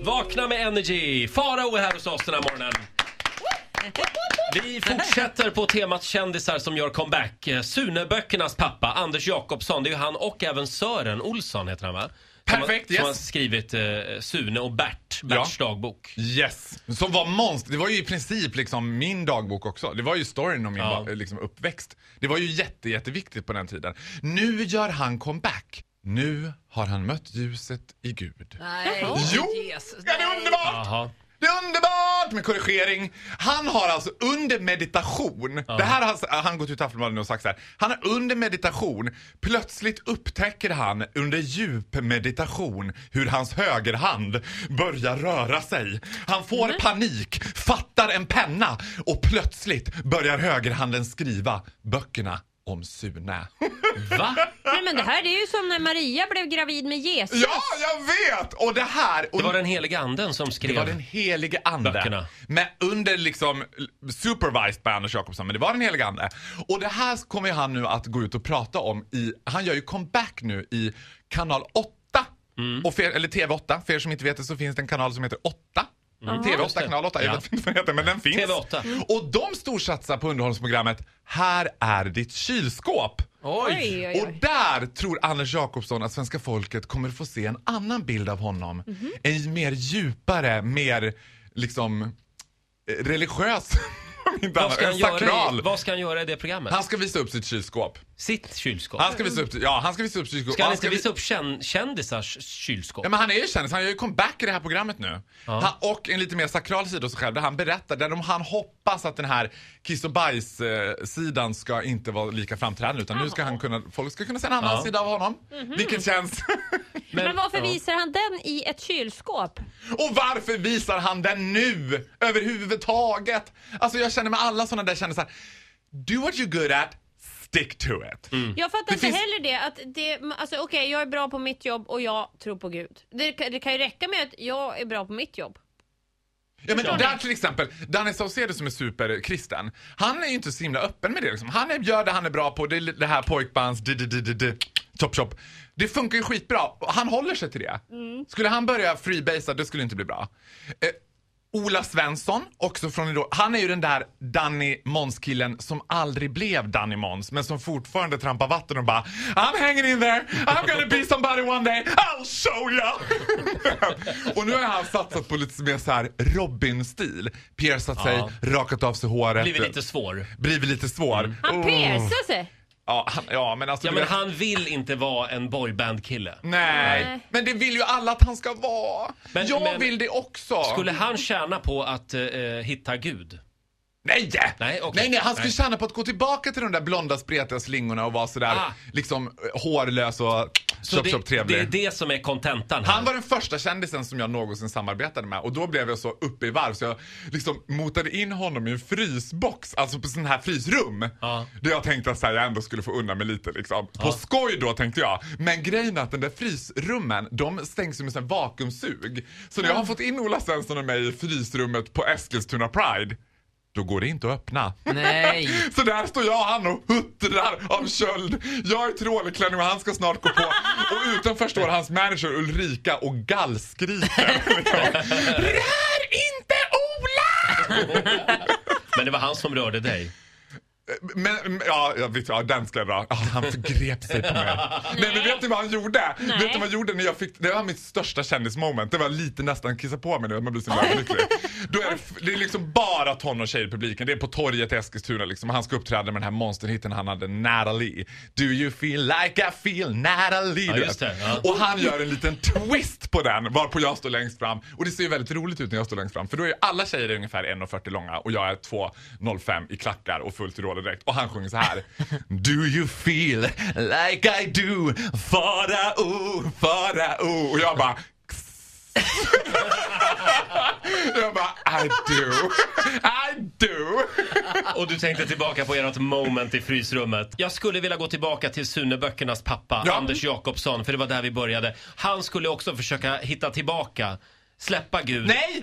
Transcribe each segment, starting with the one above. Vakna med Energy! Farao är här hos oss den här morgonen. Vi fortsätter på temat kändisar som gör comeback. Eh, Suneböckernas pappa, Anders Jakobsson, det är ju han och även Sören Olsson heter han va? Som har- Perfekt, Som har yes. skrivit eh, Sune och Bert, Berts dagbok. Yes. Som var monster. Det var ju i princip liksom min dagbok också. Det var ju storyn om min Ja. ba- liksom uppväxt. Det var ju jätte, jätteviktigt på den tiden. Nu gör han comeback. Nu har han mött ljuset i Gud. Nej, Jo! Jesus. Ja, det är underbart! Jaha. Det är underbart med korrigering. Han har alltså under meditation, det här har han- han gått ut i Aftonbladet och sagt så här. Han har under meditation, plötsligt upptäcker han under djup meditation hur hans högerhand börjar röra sig. Han får Mm. panik, fattar en penna och plötsligt börjar högerhanden skriva böckerna om Sune. Va? Nej, men det här det är ju som när Maria blev gravid med Jesus. ja, jag vet! Och det här... Och Det var den heliga anden som skrev. Det var den helige ande. Böckerna. Men under liksom l- supervised by Anders Jakobsson, men det var den helige ande. Och det här kommer ju han nu att gå ut och prata om i, han gör ju comeback nu i kanal 8. Mm. Och för, eller TV8, för er som inte vet det så finns det en kanal som heter 8. TV8, kanal 8, jag Mm. Ja. vet inte vad den heter men den finns. TV8. Och de storsatsar på underhållningsprogrammet Här är ditt kylskåp. Oj, oj, Och oj. där tror Anders Jakobsson att svenska folket kommer få se en annan bild av honom. Mhm. En mer djupare, mer liksom eh, religiös, om inte Vad annat, ska, en han göra i, sakral. vad ska han göra i det programmet? Han ska visa upp sitt kylskåp. Sitt kylskåp? Han ska visa upp, ja, han ska visa upp sitt kylskåp. Ska han han inte vi- visa upp kän- kändisars kylskåp? Ja, men han är ju kändis, han gör ju comeback i det här programmet nu. Han, och en lite mer sakral sida hos sig själv där han berättar, där de, han hoppas att den här kiss och bajs-sidan ska inte vara lika framträdande utan nu ska han kunna, folk ska kunna se en annan Ja. sida av honom. Mhm. Vilket känns... Men varför ja. visar han den i ett kylskåp? Och varför visar han den nu? Överhuvudtaget? Alltså jag känner med alla sådana där kändisar, do what you're good at, stick to it. Jag Mm. fattar Det inte finns- heller det. Att det alltså, okej, jag är bra på mitt jobb och jag tror på Gud. Det, kan- det kan ju räcka med att jag är bra på mitt jobb. Ja men Förstår där ni? till exempel, Danny Saucedo som är superkristen, han är ju inte så himla öppen med det liksom. Han är- gör det han är bra på, det, är det här pojkbands, di- di- di- di- di, chop chop. Det funkar ju skitbra, och han håller sig till det. Skulle han börja freebasea, det skulle inte bli bra. Eh, Ola Svensson, också från Idol. Han är ju den där Danny Måns-killen som aldrig blev Danny Måns, men som fortfarande trampar vatten och bara I'm hanging in there, I'm gonna be somebody one day, I'll show ya! och nu har han satsat på lite mer så här Robin-stil. Piercat sig, Ja. rakat av sig håret. Blivit lite svår. blivit lite svår. Han Oh. piercar sig. Ja, han, ja, men alltså... Ja du men vet- han vill inte vara en boyband-kille. Mm. Nej. Nej. men det vill ju alla att han ska vara. Men- jag men- vill det också. Skulle han tjäna på att eh, eh, hitta Gud? Nej! Nej, okej. nej, nej, han skulle Nej. tjäna på att gå tillbaka till de där blonda spretiga slingorna och vara sådär Ah. liksom eh, hårlös och Så chop det, chop trevlig. det är det som är kontentan här. Han var den första kändisen som jag någonsin samarbetade med och då blev jag så uppe i varv så jag liksom motade in honom i en frysbox, alltså på sån här frysrum. Ja. Där jag tänkte att så här, jag ändå skulle få undan mig lite liksom. På skoj då tänkte jag. Men grejen är att den där frysrummen, de stängs ju med sån vakuumsug. Så när jag har fått in Ola Svensson och mig i frysrummet på Eskilstuna Pride, då går det inte att öppna. Nej. Så där står jag och han och huttrar av köld. Jag är trålklänning och han ska snart gå på. Och utanför står hans manager Ulrika och gallskriker. Rör inte Ola! Men det var han som rörde dig. Men, men- ja, jag vet, ja, den ska jag dra. Ah, han förgrep sig på mig. Nej, men vet ni vad han gjorde? Nej. Vet ni vad han gjorde när jag fick, det var mitt största kändismoment. Det var lite nästan kissa på mig nu, man blir så jävla lycklig. Då är det, f- det är liksom bara tonårstjejer i publiken. Det är på torget i Eskilstuna liksom. Han ska uppträda med den här monsterhitten han hade, Natalie. Do you feel like I feel Natalie? Du just vet. det, ja. Och han gör en liten twist på den varpå jag står längst fram. Och det ser ju väldigt roligt ut när jag står längst fram för då är alla tjejer ungefär 1,40 långa och jag är 2,05 i klackar och fullt direkt. Och han sjunger så här. Do you feel like I do? Farao, farao. Och jag bara jag bara I do, I do. Och du tänkte tillbaka på ert moment i frysrummet. Jag skulle vilja gå tillbaka till Suneböckernas pappa, Ja. Anders Jakobsson, för det var där vi började. Han skulle också försöka hitta tillbaka, släppa Gud. Nej!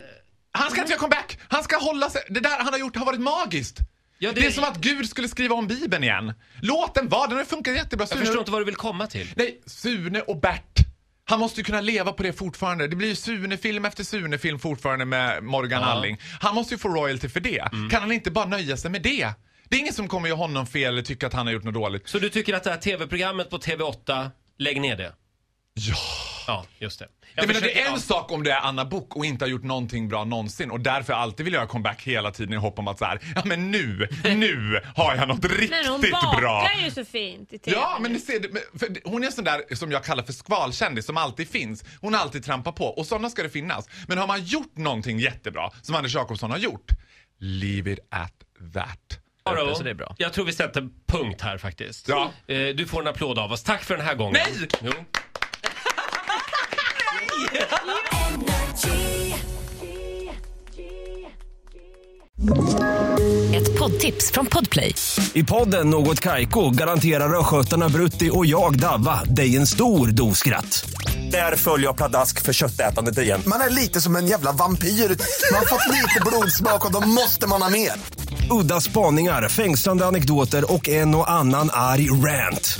Han ska inte göra comeback! Han ska hålla sig... Det där han har gjort har varit magiskt! Ja, det... det- är som att Gud skulle skriva om Bibeln igen. Låt den vara, den har funkat jättebra. Jag Sune... förstår inte vad du vill komma till. Nej, Sune och Bert. Han måste ju kunna leva på det fortfarande. Det blir ju Sune-film efter Sune-film fortfarande med Morgan Ja. Mm. Alling. Han måste ju få royalty för det. Kan han inte bara nöja sig med det? Det är ingen som kommer göra honom fel eller tycka att han har gjort något dåligt. Så du tycker att det här tv-programmet på TV8, lägg ner det? Ja. Ja, just det. Jag menar, det försöker- är en ja. sak om det är Anna Bok och inte har gjort någonting bra någonsin och därför alltid vill göra comeback hela tiden i hopp om att så här, ja men nu, nu har jag något Men hon riktigt bakar bra. ju så fint i TV. Ja, men ni ser, det- men- för det- hon är en sån där som jag kallar för skvalkändis som alltid finns. Hon alltid trampar på och såna ska det finnas. Men har man gjort någonting jättebra som Anders Jacobsson har gjort, leave it at that. Aro, Så det är bra. Jag tror vi sätter punkt här faktiskt. Ja. Eh, Du får en applåd av oss. Tack för den här gången. Nej! Jo. Ett poddtips från Podplay. I podden Något Kaiko garanterar östgötarna Brutti och jag, Davva, dig en stor dos skratt. Där följer jag pladask för köttätandet igen. Man är lite som en jävla vampyr. Man har fått lite blodsmak och då måste man ha mer. Udda spaningar, fängslande anekdoter och en och annan arg rant.